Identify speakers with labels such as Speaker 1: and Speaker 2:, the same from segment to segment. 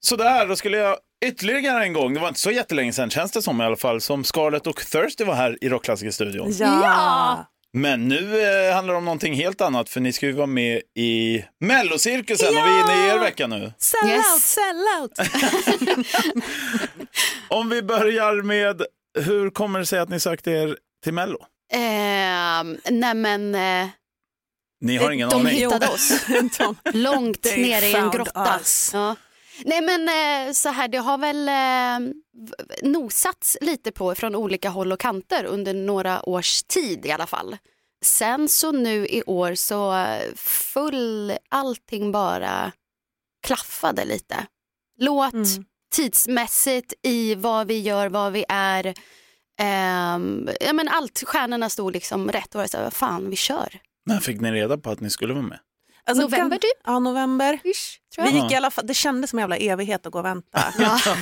Speaker 1: Sådär, då skulle jag ytterligare en gång, det var inte så jättelänge sedan känns det som i alla fall, som Scarlett och Thirsty var här i Rockklassikerstudion.
Speaker 2: Ja.
Speaker 1: Men nu eh, handlar det om någonting helt annat för ni ska ju vara med i Mellocirkusen och vi är inne i er vecka nu.
Speaker 2: Sell
Speaker 3: Yes.
Speaker 2: out, sell out.
Speaker 1: Om vi börjar med, hur kommer det sig att ni sökte er till Mello?
Speaker 3: Ehm, nej men, eh,
Speaker 1: Ni har ingen
Speaker 3: de
Speaker 1: aning.
Speaker 3: hittade oss
Speaker 2: De- alltså,
Speaker 3: långt
Speaker 2: They
Speaker 3: nere i en
Speaker 2: found
Speaker 3: grotta.
Speaker 2: us.
Speaker 3: Ja. Nej men eh, så här, det har väl eh, v- nosats lite på från olika håll och kanter under några års tid i alla fall. Sen så nu i år så eh, full allting bara klaffade lite. Låt,
Speaker 2: Mm.
Speaker 3: tidsmässigt i vad vi gör, vad vi är. Ehm, ja, men allt, stjärnorna stod liksom rätt och var så här, fan vi kör.
Speaker 1: När fick ni reda på att ni skulle vara med?
Speaker 2: Alltså,
Speaker 3: November
Speaker 2: gan-
Speaker 3: typ?
Speaker 2: Ja, november.
Speaker 3: Ish, tror
Speaker 2: Vi
Speaker 3: jag.
Speaker 2: gick i alla fall, det kändes som en jävla evighet att gå och vänta.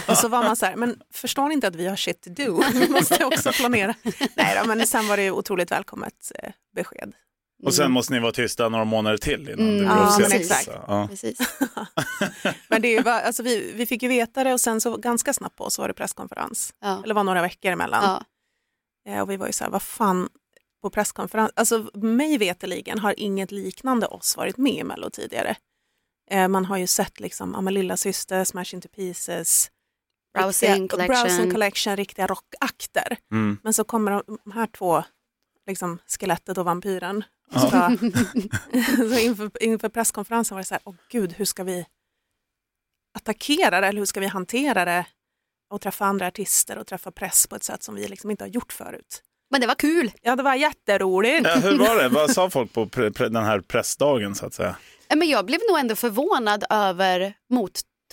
Speaker 2: Och så var man så här, men förstår ni inte att vi har shit to do? Vi måste också planera. Nej då, men sen var det ju otroligt välkommet eh, besked.
Speaker 1: Och sen måste ni vara tysta några månader till innan
Speaker 3: Mm.
Speaker 1: det blir
Speaker 3: Ja,
Speaker 1: officiellt.
Speaker 2: men exakt.
Speaker 1: Så, ja.
Speaker 3: Precis.
Speaker 2: Men det är ju bara, alltså, vi, vi fick ju veta det och sen så ganska snabbt på så var det presskonferens.
Speaker 3: Ja.
Speaker 2: Eller var några veckor emellan.
Speaker 3: Ja.
Speaker 2: Eh, Och vi var ju så här, vad fan på presskonferens, alltså mig veteligen har inget liknande oss varit med i Mello tidigare. Eh, Man har ju sett liksom, ja men lilla syster, Smash Into Pieces,
Speaker 3: Browsing
Speaker 2: riktiga-
Speaker 3: Collection.
Speaker 2: Browsing collection riktiga rockakter.
Speaker 1: Mm.
Speaker 2: Men så kommer de de här två, liksom skelettet och vampyren.
Speaker 1: Ja.
Speaker 2: Så, så inför, inför presskonferensen var det så här, åh gud, hur ska vi attackera det eller hur ska vi hantera det? Och träffa andra artister och träffa press på ett sätt som vi liksom inte har gjort förut.
Speaker 3: Men det var kul.
Speaker 2: Ja, det var jätteroligt.
Speaker 1: Ja, hur var det? Vad sa folk på pre- pre- den här pressdagen så att säga?
Speaker 3: Ja, Eh, Men jag blev nog ändå förvånad över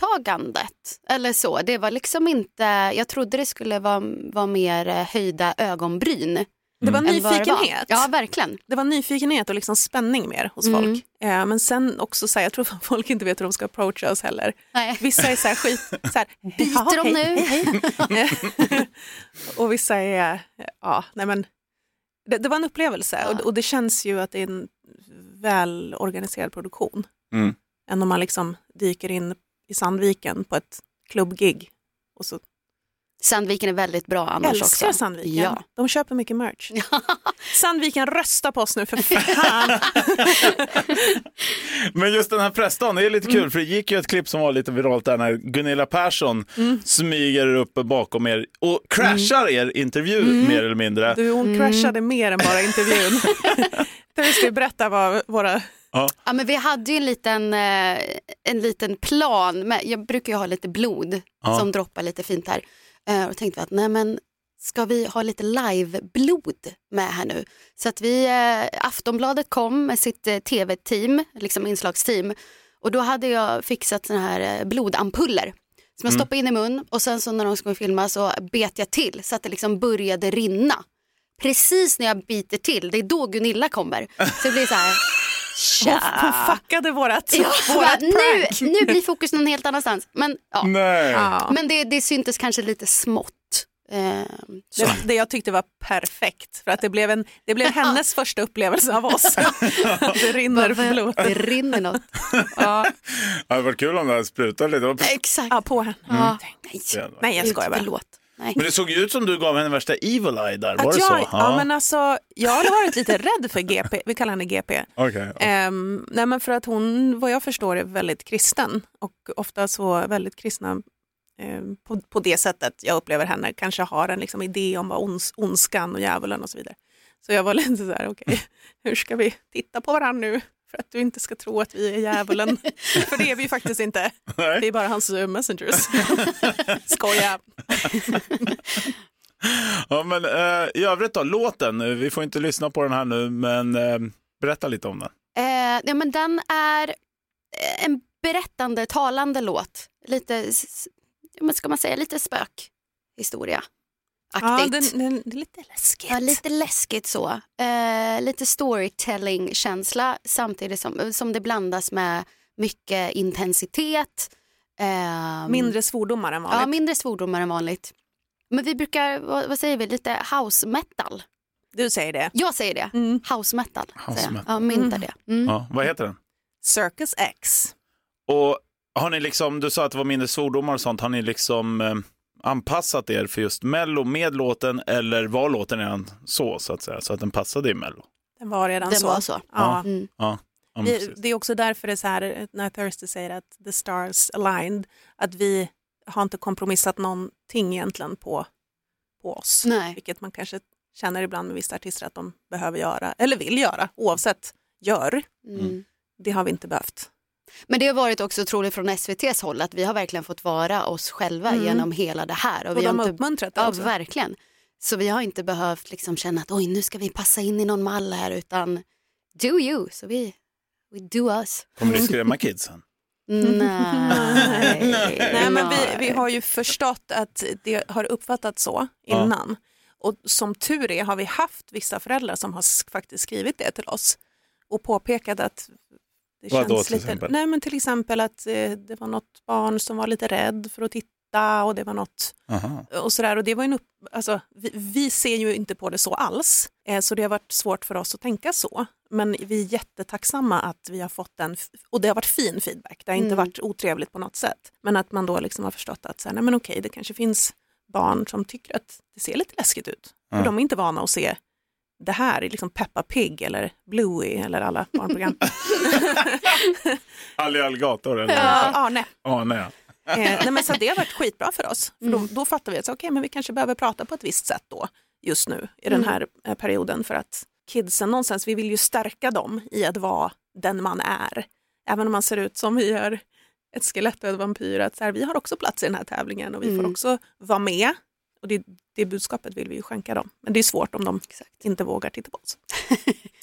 Speaker 3: mottagandet. Eller så. Det var liksom inte, jag trodde det skulle vara, vara mer eh, höjda ögonbryn. Mm. än
Speaker 2: Det var
Speaker 3: vad det var.
Speaker 2: nyfikenhet.
Speaker 3: Ja, verkligen.
Speaker 2: Det var nyfikenhet och liksom spänning mer hos
Speaker 3: Mm.
Speaker 2: folk. Eh, men sen också så här, jag tror att folk inte vet hur de ska approacha oss heller.
Speaker 3: Nej.
Speaker 2: Vissa är så här skit, så här, "Jaha,
Speaker 3: Biter de
Speaker 2: hej,
Speaker 3: nu?
Speaker 2: och vissa är, ja, nej men det, det var en upplevelse
Speaker 3: Ja.
Speaker 2: och, och det känns ju att det är en välorganiserad produktion.
Speaker 1: Mm.
Speaker 2: Än om man liksom dyker in i Sandviken på ett klubbgig och så
Speaker 3: Sandviken är väldigt bra annars
Speaker 2: älskar
Speaker 3: också.
Speaker 2: Sandviken.
Speaker 3: Mm. Ja.
Speaker 2: De köper mycket merch. Sandviken rösta på oss nu för fan.
Speaker 1: Men just den här pressdagen, det är lite kul
Speaker 2: Mm.
Speaker 1: för det gick ju ett klipp som var lite viralt där när Gunilla Persson
Speaker 2: Mm.
Speaker 1: smyger upp bakom er och crashar er intervju mer eller mindre.
Speaker 2: Mm. Du,
Speaker 3: Mm.
Speaker 2: hon crashade mer än bara intervjun. Du ska berätta vad våra...
Speaker 3: Ja, men vi hade ju en liten, eh, en liten plan. Med, jag brukar ju ha lite blod
Speaker 1: Ja.
Speaker 3: som droppar lite fint här. Eh, och tänkte att nej men ska vi ha lite live-blod med här nu? Så att vi, eh, Aftonbladet kom med sitt eh, tv-team, liksom inslagsteam. Och då hade jag fixat såna här eh, blodampuller som jag
Speaker 2: Mm.
Speaker 3: stoppade in i mun och sen så när de skulle filma så bet jag till så att det liksom började rinna. Precis när jag biter till, det är då Gunilla kommer. Så det blir så här,
Speaker 2: Hon,
Speaker 3: tja.
Speaker 2: hon fuckade vårat,
Speaker 3: Ja, bara,
Speaker 2: vårat
Speaker 3: nu,
Speaker 2: prank.
Speaker 3: nu blir fokus någon helt annanstans. Men, ja.
Speaker 1: Nej.
Speaker 2: Ja.
Speaker 3: Men det, det syntes kanske lite smått. Eh, så.
Speaker 2: Det, det jag tyckte var perfekt för att det blev, en, det blev hennes första upplevelse av oss. det rinner blod.
Speaker 3: Det rinner något.
Speaker 2: Ja.
Speaker 1: Det hade varit kul om det hade sprutat lite.
Speaker 3: Exakt.
Speaker 2: Ja, på henne.
Speaker 3: Ja.
Speaker 2: Nej Mm. jag skojar bara.
Speaker 3: Förlåt. Nej.
Speaker 1: Men det såg ju ut som du gav henne värsta evil eye där, var
Speaker 2: Att
Speaker 1: det så?
Speaker 2: jag, ja, men alltså, jag har varit lite rädd för GP, vi kallar henne GP.
Speaker 1: Okej.
Speaker 2: Ehm, nej men för att hon, vad jag förstår, är väldigt kristen och ofta så väldigt kristna ehm, på, på det sättet jag upplever henne, kanske har en liksom idé om vad ons, ondskan och djävulen och så vidare. Så jag var lite så här,
Speaker 3: Mm.
Speaker 2: okej, hur ska vi titta på varandra nu för att du inte ska tro att vi är djävulen? för det är vi ju faktiskt inte, vi
Speaker 1: Nej.
Speaker 2: är bara hans eh, messengers. Skoja.
Speaker 1: Ja, men eh, i övrigt då, låten, eh, vi får inte lyssna på den här nu, men eh, berätta lite om den.
Speaker 2: Mm.
Speaker 3: Eh, ja, men den är eh, en berättande, talande låt. Lite, s- s- ja, men ska man säga, lite spökhistoria.
Speaker 2: Ja, den, den, det är lite läskigt.
Speaker 3: Ja, lite läskigt så. Eh, lite storytelling-känsla samtidigt som, som det blandas med mycket intensitet. Ehm,
Speaker 2: Mindre svordomar än vanligt.
Speaker 3: ja, mindre svordomar än vanligt. Men vi brukar, vad, vad säger vi, lite house metal.
Speaker 2: Du säger det.
Speaker 3: Jag säger det,
Speaker 2: Mm.
Speaker 3: house metal. säger
Speaker 1: House
Speaker 3: jag.
Speaker 1: metal.
Speaker 3: Ja, mynta det. Mm.
Speaker 1: Ja, vad heter den?
Speaker 2: Circus X.
Speaker 1: Och Har ni liksom, du sa att det var mindre svordomar och sånt, har ni liksom eh, anpassat er för just Mello med låten eller var låten redan så så att säga, så att den passade i Mello?
Speaker 2: Den var redan
Speaker 3: Den
Speaker 2: så.
Speaker 3: var så.
Speaker 2: Ja.
Speaker 3: Mm.
Speaker 1: Ja, men
Speaker 2: Vi,
Speaker 1: precis.
Speaker 2: det är också därför det är så här när Thirsty säger att the stars aligned, att vi har inte kompromissat någonting egentligen på, på oss.
Speaker 3: Nej.
Speaker 2: Vilket man kanske känner ibland med vissa artister att de behöver göra, eller vill göra, oavsett gör.
Speaker 3: Mm.
Speaker 2: Det har vi inte behövt.
Speaker 3: Men det har varit också otroligt från SVTs håll att vi har verkligen fått vara oss själva
Speaker 2: Mm.
Speaker 3: genom hela det här.
Speaker 2: Och,
Speaker 3: vi
Speaker 2: de
Speaker 3: har
Speaker 2: har
Speaker 3: inte...
Speaker 2: uppmuntrat det
Speaker 3: Ja,
Speaker 2: också.
Speaker 3: verkligen. Så vi har inte behövt liksom känna att oj, nu ska vi passa in i någon mall här utan do you. Så vi, we do us.
Speaker 1: Kommer ni skrämma kidsen?
Speaker 3: Nej.
Speaker 2: Nej, men vi, vi har ju förstått att det har uppfattats så
Speaker 1: Ja.
Speaker 2: innan. Och som tur är har vi haft vissa föräldrar som har sk- faktiskt skrivit det till oss och påpekat att det
Speaker 1: Vad då,
Speaker 2: känns
Speaker 1: till
Speaker 2: lite...
Speaker 1: exempel?
Speaker 2: Nej, men till exempel att eh, det var något barn som var lite rädd för att titta och det var något
Speaker 1: Aha.
Speaker 2: och sådär. Och det var ju en upp, alltså, vi, vi ser ju inte på det så alls, eh, så det har varit svårt för oss att tänka så. Men vi är jättetacksamma att vi har fått den, f- och det har varit fin feedback, det har inte
Speaker 3: Mm.
Speaker 2: varit otrevligt på något sätt. Men att man då liksom har förstått att så här, nej, men okej, det kanske finns barn som tycker att det ser lite läskigt ut.
Speaker 1: Ja.
Speaker 2: För de är inte vana att se det här i liksom Peppa Pig eller Bluey eller alla barnprogram.
Speaker 1: Alla alligator eller?
Speaker 2: ja.
Speaker 1: Ja.
Speaker 2: ah, nej.
Speaker 1: Ah, nej.
Speaker 2: Eh, nej, men så det har varit skitbra för oss. För då, då fattar vi att så, okej, men vi kanske behöver prata på ett visst sätt då just nu i den här eh, perioden för att kidsen någonstans, vi vill ju stärka dem i att vara den man är. Även om man ser ut som vi gör, ett skelett och en vampyr, att så här, vi har också plats i den här tävlingen och vi får
Speaker 3: Mm.
Speaker 2: också vara med. Och det, det budskapet vill vi ju skänka dem. Men det är svårt om de inte vågar titta på oss.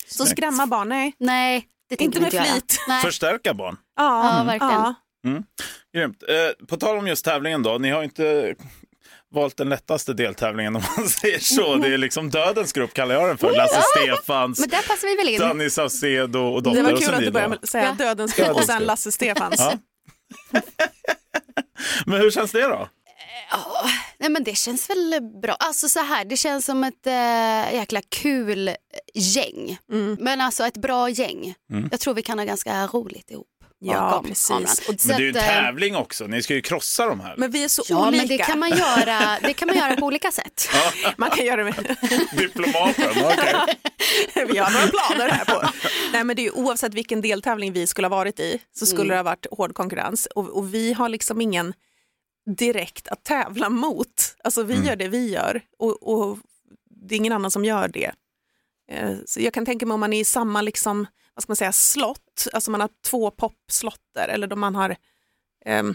Speaker 2: så
Speaker 1: Snyggt.
Speaker 2: skrämma barn, nej,
Speaker 3: Nej, det tänker
Speaker 2: inte
Speaker 3: vi
Speaker 2: med
Speaker 3: göra.
Speaker 2: flit.
Speaker 3: Nej.
Speaker 1: Förstärka barn.
Speaker 3: Ja, verkligen.
Speaker 2: ja.
Speaker 1: Grymt. Eh, på tal om just tävlingen då, ni har ju inte valt den lättaste deltävlingen om man säger så. Det är liksom dödens grupp kallar jag den för. Lasse Stefans,
Speaker 3: Men där passar vi väl in.
Speaker 1: Danny Saucedo och Dotter
Speaker 2: Det var
Speaker 1: och
Speaker 2: kul
Speaker 1: så
Speaker 2: att du
Speaker 1: vidare.
Speaker 2: började med att säga
Speaker 3: Ja.
Speaker 2: Dödens grupp och
Speaker 1: Dödens
Speaker 2: sen
Speaker 1: grupp.
Speaker 2: Lasse Stefans.
Speaker 1: Ja. Men hur känns det då?
Speaker 3: Ja, nej men det känns väl bra. Alltså så här, det känns som ett eh, jäkla kul gäng.
Speaker 2: Mm.
Speaker 3: Men alltså ett bra gäng.
Speaker 1: Mm.
Speaker 3: Jag tror vi kan ha ganska roligt ihop
Speaker 2: Ja,
Speaker 3: bakom
Speaker 2: precis.
Speaker 3: kameran. Och så
Speaker 1: Men det är ju en
Speaker 3: att, eh,
Speaker 1: tävling också, ni ska ju krossa de här.
Speaker 2: Men vi är så
Speaker 3: Ja,
Speaker 2: olika.
Speaker 3: men det kan, man göra, det kan man göra på olika sätt.
Speaker 2: Man kan göra det med,
Speaker 1: Diplomaten, okej.
Speaker 2: vi har några planer här på. Nej, men det är ju, oavsett vilken deltävling vi skulle ha varit i så
Speaker 3: Mm.
Speaker 2: skulle det ha varit hård konkurrens och, och vi har liksom ingen direkt att tävla mot. Alltså vi gör det vi gör och, och det är ingen annan som gör det. Eh, Så jag kan tänka mig om man är i samma liksom, vad ska man säga, slott, alltså man har två popslotter eller då man har ehm,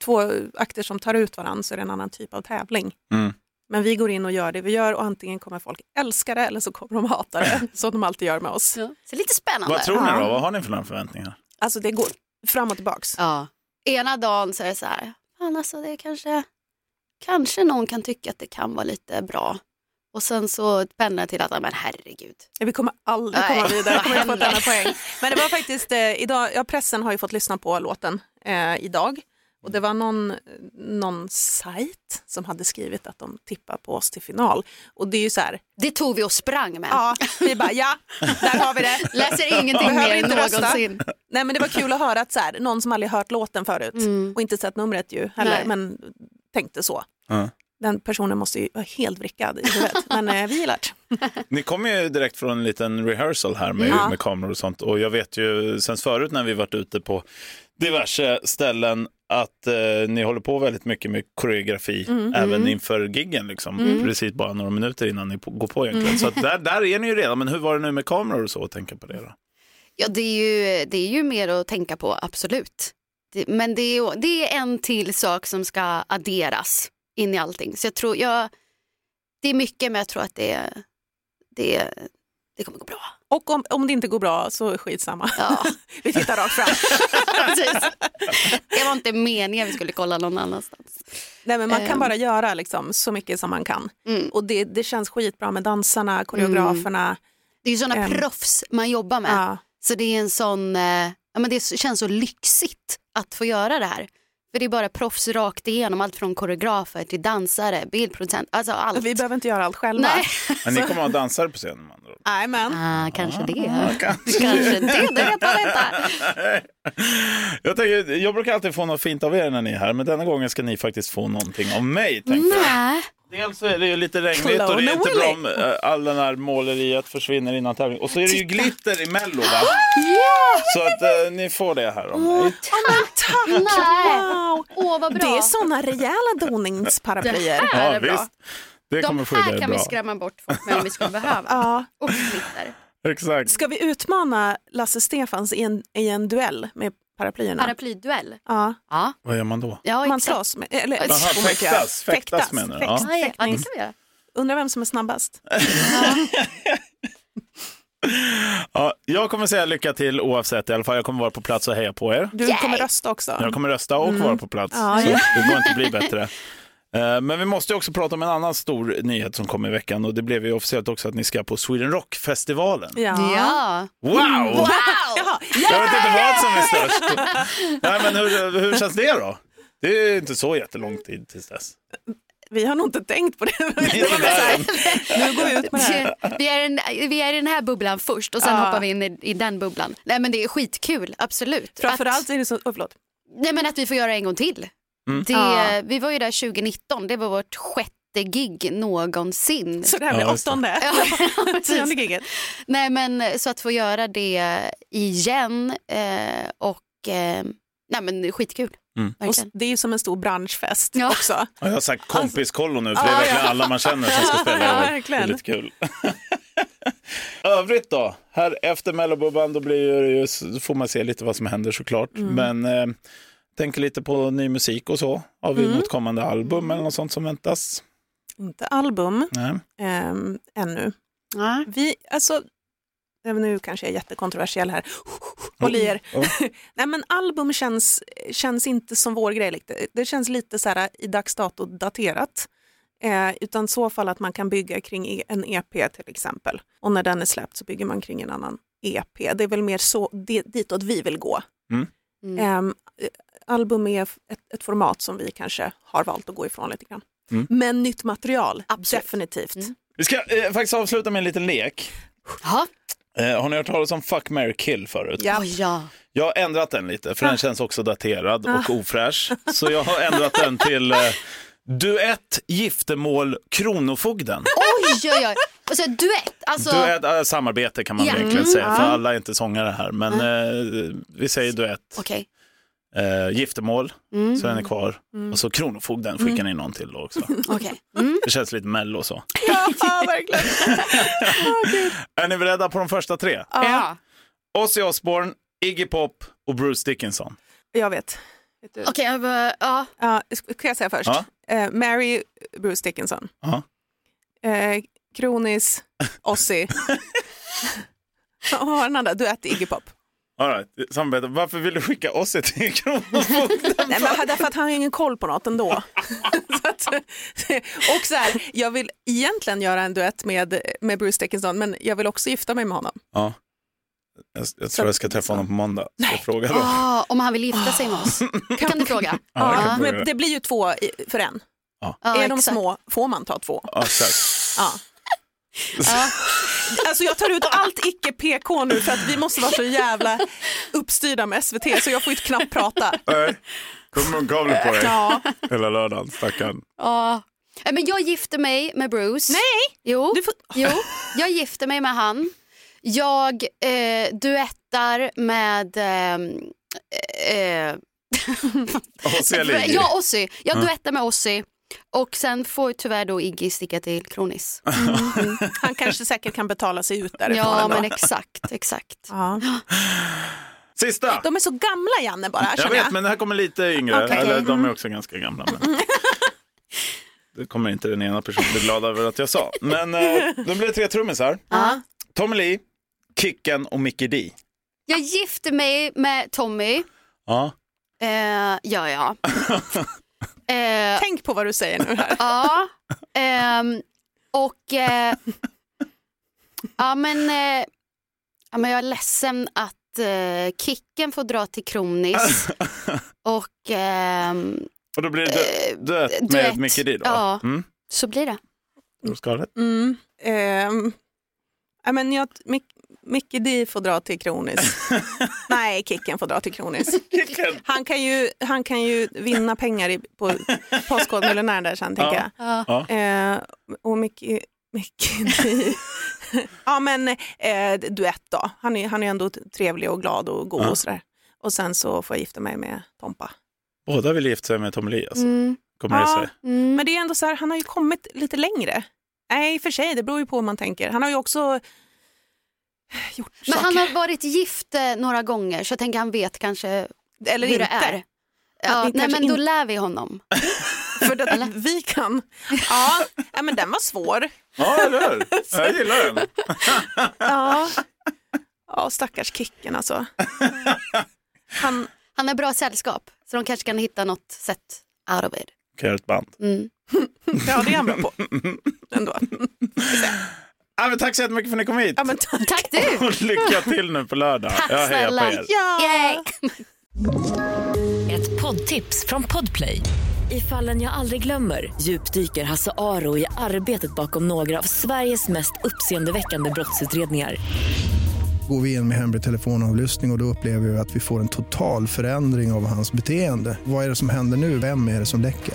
Speaker 2: två akter som tar ut varandra så är det en annan typ av tävling.
Speaker 1: Mm.
Speaker 2: Men vi går in och gör det vi gör och antingen kommer folk älska det eller så kommer de hata det, som de alltid gör med oss.
Speaker 3: Så det är lite spännande.
Speaker 1: Vad tror ni då? Vad har ni för några förväntningar?
Speaker 2: Alltså det går fram och tillbaks.
Speaker 3: Ja. Ena dagen så är det så här, fan alltså det är kanske, kanske någon kan tycka att det kan vara lite bra. Och sen så pendlar jag till att, ja, men herregud.
Speaker 2: Vi kommer aldrig
Speaker 3: Nej,
Speaker 2: komma vidare, vi
Speaker 3: vad
Speaker 2: kommer inte få ett
Speaker 3: händer?
Speaker 2: annat poäng. Men det var faktiskt, eh, idag, ja, pressen har ju fått lyssna på låten eh, idag och det var någon, någon sajt som hade skrivit att de tippar på oss till final. Och det är ju så här,
Speaker 3: Det tog vi och sprang med.
Speaker 2: ja, vi bara ja, där har vi det.
Speaker 3: Läser ingenting
Speaker 2: Behöver
Speaker 3: mer än
Speaker 2: inte rösta.
Speaker 3: någonsin.
Speaker 2: Nej men det var kul att höra att så här, någon som aldrig hört låten förut och inte sett numret ju heller,
Speaker 3: Mm. Nej.
Speaker 2: men tänkte så.
Speaker 1: Ja.
Speaker 2: Den personen måste ju vara helt vrickad i huvudet, men eh, vi gillar det.
Speaker 1: Ni kom ju direkt från en liten rehearsal här med,
Speaker 2: Ja.
Speaker 1: med kameror och sånt. Och jag vet ju sen förut när vi varit ute på diverse ställen att eh, ni håller på väldigt mycket med koreografi
Speaker 3: Mm.
Speaker 1: även inför giggen. Liksom. Precis bara några minuter innan ni på, går på
Speaker 3: Mm.
Speaker 1: egentligen. Så att där, där är ni ju redan. Men hur var det nu med kameror och så? Och tänka på det då?
Speaker 3: Ja, det är, ju, det är ju mer att tänka på, absolut. Det, men det är, ju- det är en till sak som ska adderas in i allting. Så jag tror, jag, det är mycket men jag tror att det, det, det kommer gå bra.
Speaker 2: Och om, om det inte går bra så skitsamma,
Speaker 3: Ja,
Speaker 2: vi tittar rakt fram.
Speaker 3: precis. Det var inte meningen vi skulle kolla någon annanstans.
Speaker 2: Nej, men man kan
Speaker 3: Ehm.
Speaker 2: bara göra liksom, så mycket som man kan.
Speaker 3: Mm.
Speaker 2: Och det, det känns skitbra med dansarna, koreograferna.
Speaker 3: Det är ju sådana
Speaker 2: Ehm.
Speaker 3: proffs man jobbar med.
Speaker 2: Ja.
Speaker 3: Så det är en sån, eh, ja, men det känns så lyxigt att få göra det här. För det är bara proffs rakt igenom, allt från koreografer till dansare, bildproducent, alltså allt.
Speaker 2: Vi behöver inte göra allt själva.
Speaker 3: Nej,
Speaker 1: Men ni kommer att ha dansare på scenen med andra ord.
Speaker 2: Nej, men.
Speaker 3: ah, kanske det.
Speaker 1: kanske.
Speaker 3: kanske det, det vet man inte.
Speaker 1: jag, tänker, jag brukar alltid få något fint av er när ni är här, men denna gången ska ni faktiskt få någonting av mig. Tänkte jag.
Speaker 3: Nej.
Speaker 1: Dels så är det ju lite regnigt
Speaker 2: Clone
Speaker 1: och det är inte bra
Speaker 2: Willy.
Speaker 1: om eh, all den här måleriet försvinner innan tävling. Och så är det ju glitter i Mello va? Så att eh, ni får det här av
Speaker 3: Mm.
Speaker 1: mig.
Speaker 3: Nej.
Speaker 2: Wow.
Speaker 3: Åh, vad bra.
Speaker 2: Det är sådana rejäla doningsparaplyer.
Speaker 3: här
Speaker 1: Ja,
Speaker 3: är bra.
Speaker 1: visst. Det kommer
Speaker 3: De
Speaker 1: skydda
Speaker 3: här
Speaker 1: er
Speaker 3: kan
Speaker 1: bra.
Speaker 3: vi skrämma bort folk med om vi skulle behöva.
Speaker 2: Ja.
Speaker 3: Och glitter.
Speaker 1: Exakt.
Speaker 2: Ska vi utmana Lasse Stefans i en, i en duell med paraplyerna?
Speaker 3: Paraplyduell.
Speaker 2: ja.
Speaker 3: Ja,
Speaker 1: Vad gör man då?
Speaker 3: ja
Speaker 2: Man
Speaker 3: exakt.
Speaker 2: slåss. Med, eller,
Speaker 3: Jaha,
Speaker 2: får man inte göra.
Speaker 1: fäktas, fäktas menar du? Ja.
Speaker 2: fäktas,
Speaker 3: Ja, ja, ja, det
Speaker 2: fäktning.
Speaker 3: kan vi göra.
Speaker 2: Undrar vem som är snabbast.
Speaker 1: Ja, jag kommer säga lycka till oavsett i alla fall. Jag kommer vara på plats och heja på er.
Speaker 2: Du
Speaker 3: Yay.
Speaker 2: kommer rösta också.
Speaker 1: Jag kommer rösta och vara på plats.
Speaker 2: Mm. Ja,
Speaker 1: så
Speaker 2: ja.
Speaker 1: Det går inte att bli bättre. Eh, Men vi måste ju också prata om en annan stor nyhet som kom i veckan och det blev ju officiellt också att ni ska på Sweden Rock-festivalen.
Speaker 2: Ja. Mm.
Speaker 3: Ja.
Speaker 1: Wow!
Speaker 2: Jaha.
Speaker 1: Jag vet inte vad som är störst. Nej, men hur, hur känns det då? Det är ju inte så jättelång tid tills dess.
Speaker 2: Vi har nog inte tänkt på det.
Speaker 1: Inte där än.
Speaker 2: nu går vi ut med det här.
Speaker 3: Vi är, i den- vi är i den här bubblan först och sen
Speaker 2: Ja.
Speaker 3: hoppar vi in i, i den bubblan. Nej men det är skitkul, absolut.
Speaker 2: Framförallt
Speaker 3: Att,
Speaker 2: är det så, oh, förlåt.
Speaker 3: nej men att vi får göra det en gång till. Det,
Speaker 2: Ja.
Speaker 3: Vi var ju där 2019, det var vårt sjätte gig någonsin.
Speaker 2: Så det här blir
Speaker 1: Ja, just det.
Speaker 2: åttonde,
Speaker 3: Precis.
Speaker 2: tionde giget.
Speaker 3: nej men så att få göra det igen eh, och eh, nej men skitkul.
Speaker 1: Mm.
Speaker 2: Och s-
Speaker 3: Verkligen.
Speaker 2: det är ju som en stor branschfest
Speaker 3: Ja.
Speaker 2: också.
Speaker 1: Ja, Jag har sagt kompiskollo nu, för det är verkligen
Speaker 2: Alltså- Ja, ja.
Speaker 1: alla man känner som ska spela.
Speaker 2: Ja,
Speaker 1: över.
Speaker 2: verkligen.
Speaker 1: Det är lite kul. Övrigt då? Här efter Mellobubban då blir det ju, så får man se lite vad som händer såklart.
Speaker 2: Mm.
Speaker 1: Men eh, tänker lite på ny musik och så. Har vi
Speaker 2: Mm.
Speaker 1: något kommande album eller något sånt som väntas?
Speaker 2: Inte album
Speaker 1: Nej.
Speaker 2: ehm, ännu.
Speaker 3: Ja.
Speaker 2: Vi, alltså, även nu kanske jag är jättekontroversiell här. Håll i er.
Speaker 1: Ja.
Speaker 2: Nej men album känns, känns inte som vår grej. riktigt. Det känns lite så här i dags dato daterat. Eh, utan så fall att man kan bygga kring e- en EP till exempel. Och när den är släppt så bygger man kring en annan EP. Det är väl mer så det, ditåt vi vill gå.
Speaker 3: Mm.
Speaker 2: Ehm, eh, album är f- ett, ett format som vi kanske har valt att gå ifrån lite grann.
Speaker 1: Mm.
Speaker 2: Men nytt material,
Speaker 3: Absolut.
Speaker 2: definitivt.
Speaker 3: Mm.
Speaker 1: Vi ska eh, faktiskt avsluta med en liten lek.
Speaker 3: Ja.
Speaker 1: Eh, har ni hört talas om Fuck, Mary kill förut?
Speaker 2: Ja.
Speaker 3: Oj, ja.
Speaker 1: Jag har ändrat den lite,
Speaker 3: Ah.
Speaker 1: för den känns också daterad och ofräsch. Så jag har ändrat den till eh, Duett, giftermål, Kronofogden.
Speaker 3: Oj, oj, oj. Och så duett. Alltså,
Speaker 1: Duett, äh, samarbete kan man
Speaker 3: Ja. Ah.
Speaker 1: egentligen
Speaker 3: Mm,
Speaker 1: säga, för
Speaker 2: ja.
Speaker 1: alla är inte sångare här. Men eh, vi säger duett,
Speaker 3: Okej.
Speaker 1: eh, giftermål,
Speaker 3: Mm.
Speaker 1: så den är kvar. Och så Kronofogden skickar ni någon till då också.
Speaker 3: Okej. Mm.
Speaker 1: Det känns lite mello så.
Speaker 2: Ja, verkligen.
Speaker 1: Är ni beredda på de första tre?
Speaker 3: Ja.
Speaker 1: Ozzy Osbourne, Iggy Pop och Bruce Dickinson.
Speaker 2: Jag vet. vet du?
Speaker 3: Okej, jag bara- ja.
Speaker 2: Ja, sk- kan jag säga först?
Speaker 1: Ja.
Speaker 2: Eh, Mary Bruce Dickinson.
Speaker 1: Ja.
Speaker 2: Eh, Kronis Ozzy. Och vad var den andra? Duett Iggy Pop.
Speaker 1: All right, samarbete. Varför vill du skicka Ozzy till Kronofogden?
Speaker 2: Nej, men därför att han har ju ingen koll på något ändå. så att, och så här, jag vill egentligen göra en duett med, med Bruce Dickinson men jag vill också gifta mig med honom.
Speaker 1: Ja. Jag, jag tror jag ska träffa honom på måndag. Ska jag fråga då?
Speaker 3: Ah, om han vill gifta sig med oss. Kan du fråga?
Speaker 1: Ja, jag kan fråga
Speaker 2: Ja, men
Speaker 1: det.
Speaker 2: det blir ju två i- för en.
Speaker 3: Ja,
Speaker 2: är de
Speaker 3: Ah, exakt.
Speaker 2: små får man ta två.
Speaker 1: Ja, exakt.
Speaker 2: Ja.
Speaker 3: Ja.
Speaker 2: Alltså jag tar ut allt icke PK nu för att vi måste vara så jävla uppstyrda med SVT så jag får ju knappt prata.
Speaker 1: Nej, kom munkavle på dig
Speaker 2: Ja.
Speaker 1: hela lördagen, stackarn.
Speaker 3: Ja. Nej, Ah. Eh, Men jag gifte mig med Bruce.
Speaker 2: Nej!
Speaker 3: Jo,
Speaker 2: Du får...
Speaker 3: jo. jag gifte mig med han. Jag eh, duettar med... ehm, Eh,
Speaker 1: Ozzy eller Iggy?
Speaker 3: ja, Ossi. Jag duettar med Ossi. Och sen får tyvärr då Iggy sticka till Kronis.
Speaker 2: Han kanske säkert kan betala sig ut därifrån.
Speaker 3: Ja,
Speaker 2: ändå.
Speaker 3: men exakt, exakt.
Speaker 2: ja.
Speaker 1: Sista!
Speaker 2: De är så gamla Janne bara
Speaker 1: Jag
Speaker 2: känner jag.
Speaker 1: vet, men det här kommer lite yngre.
Speaker 2: Okej.
Speaker 1: Eller de är också ganska gamla. Men... Det kommer inte den ena personen bli glad över att jag sa. Men eh, de blir tre trummisar.
Speaker 3: Ja.
Speaker 1: Tommy Lee, Kicken och Mickey D.
Speaker 3: Jag gifte mig med Tommy.
Speaker 1: Ja.
Speaker 3: Eh, ja, ja. eh,
Speaker 2: Tänk på vad du säger nu här.
Speaker 3: ja. Ehm, och... Eh, ja, men, eh, ja, men jag är ledsen att att eh, Kicken får dra till Kronis och ehm,
Speaker 1: Och då blir det
Speaker 3: eh,
Speaker 1: dö- döet med
Speaker 3: duett.
Speaker 1: Mickey D då?
Speaker 3: Ja.
Speaker 1: Mm.
Speaker 3: så blir det.
Speaker 1: Och Scarlett?
Speaker 2: Mm. Ehm, ja, men jag, Mick, Mickey D får dra till Kronis. Nej, Kicken får dra till Kronis.
Speaker 1: Vilken-
Speaker 2: Han kan ju, han kan ju vinna pengar i, på Postkodmiljonären där sen, tänker
Speaker 1: Ja.
Speaker 2: jag.
Speaker 3: Ja.
Speaker 2: Eh, och Mickey, Mickey D. ja men eh, duett då. Han är, han är ändå trevlig och glad och god
Speaker 1: Ja.
Speaker 2: och sådär. Och sen så får jag gifta mig med Tompa.
Speaker 1: Båda vill gifta sig med Tom Elias.
Speaker 3: Mm,
Speaker 1: Kommer det
Speaker 2: Ja.
Speaker 1: sig?
Speaker 3: mm.
Speaker 2: Men det är ändå så här, han har ju kommit lite längre. Nej, i och för sig, det beror ju på hur man tänker. Han har ju också gjort
Speaker 3: Men
Speaker 2: saker.
Speaker 3: han har varit gift eh, några gånger så jag tänker han vet kanske
Speaker 2: Eller
Speaker 3: hur
Speaker 2: inte.
Speaker 3: det är.
Speaker 2: Ja,
Speaker 3: Ja,
Speaker 2: det
Speaker 3: nej
Speaker 2: kanske
Speaker 3: men då
Speaker 2: inte-
Speaker 3: lär vi honom.
Speaker 2: För att vi kan. Ja, ja, men den var svår.
Speaker 1: Ja, eller hur? Jag gillar den.
Speaker 2: Ja, ja stackars Kicken alltså. Han,
Speaker 3: Han är bra sällskap så de kanske kan hitta något sätt out of it.
Speaker 1: Kan göra ett band.
Speaker 3: Mm.
Speaker 2: ja, det är han bra på. Ändå.
Speaker 1: Ja, men tack så jättemycket för att ni kom hit.
Speaker 2: Ja, men tack.
Speaker 3: Tack du!
Speaker 1: Och lycka till nu på lördag.
Speaker 3: Tack
Speaker 1: jag hejar på
Speaker 3: snälla.
Speaker 1: er.
Speaker 3: Yay.
Speaker 4: Ett poddtips från Podplay. I fallen jag aldrig glömmer djupdyker Hasse Aro i arbetet bakom några av Sveriges mest uppseendeväckande brottsutredningar.
Speaker 5: går vi in med hemlig telefonavlyssning och, och då upplever vi att vi får en total förändring av hans beteende. Vad är det som händer nu? Vem är det som läcker?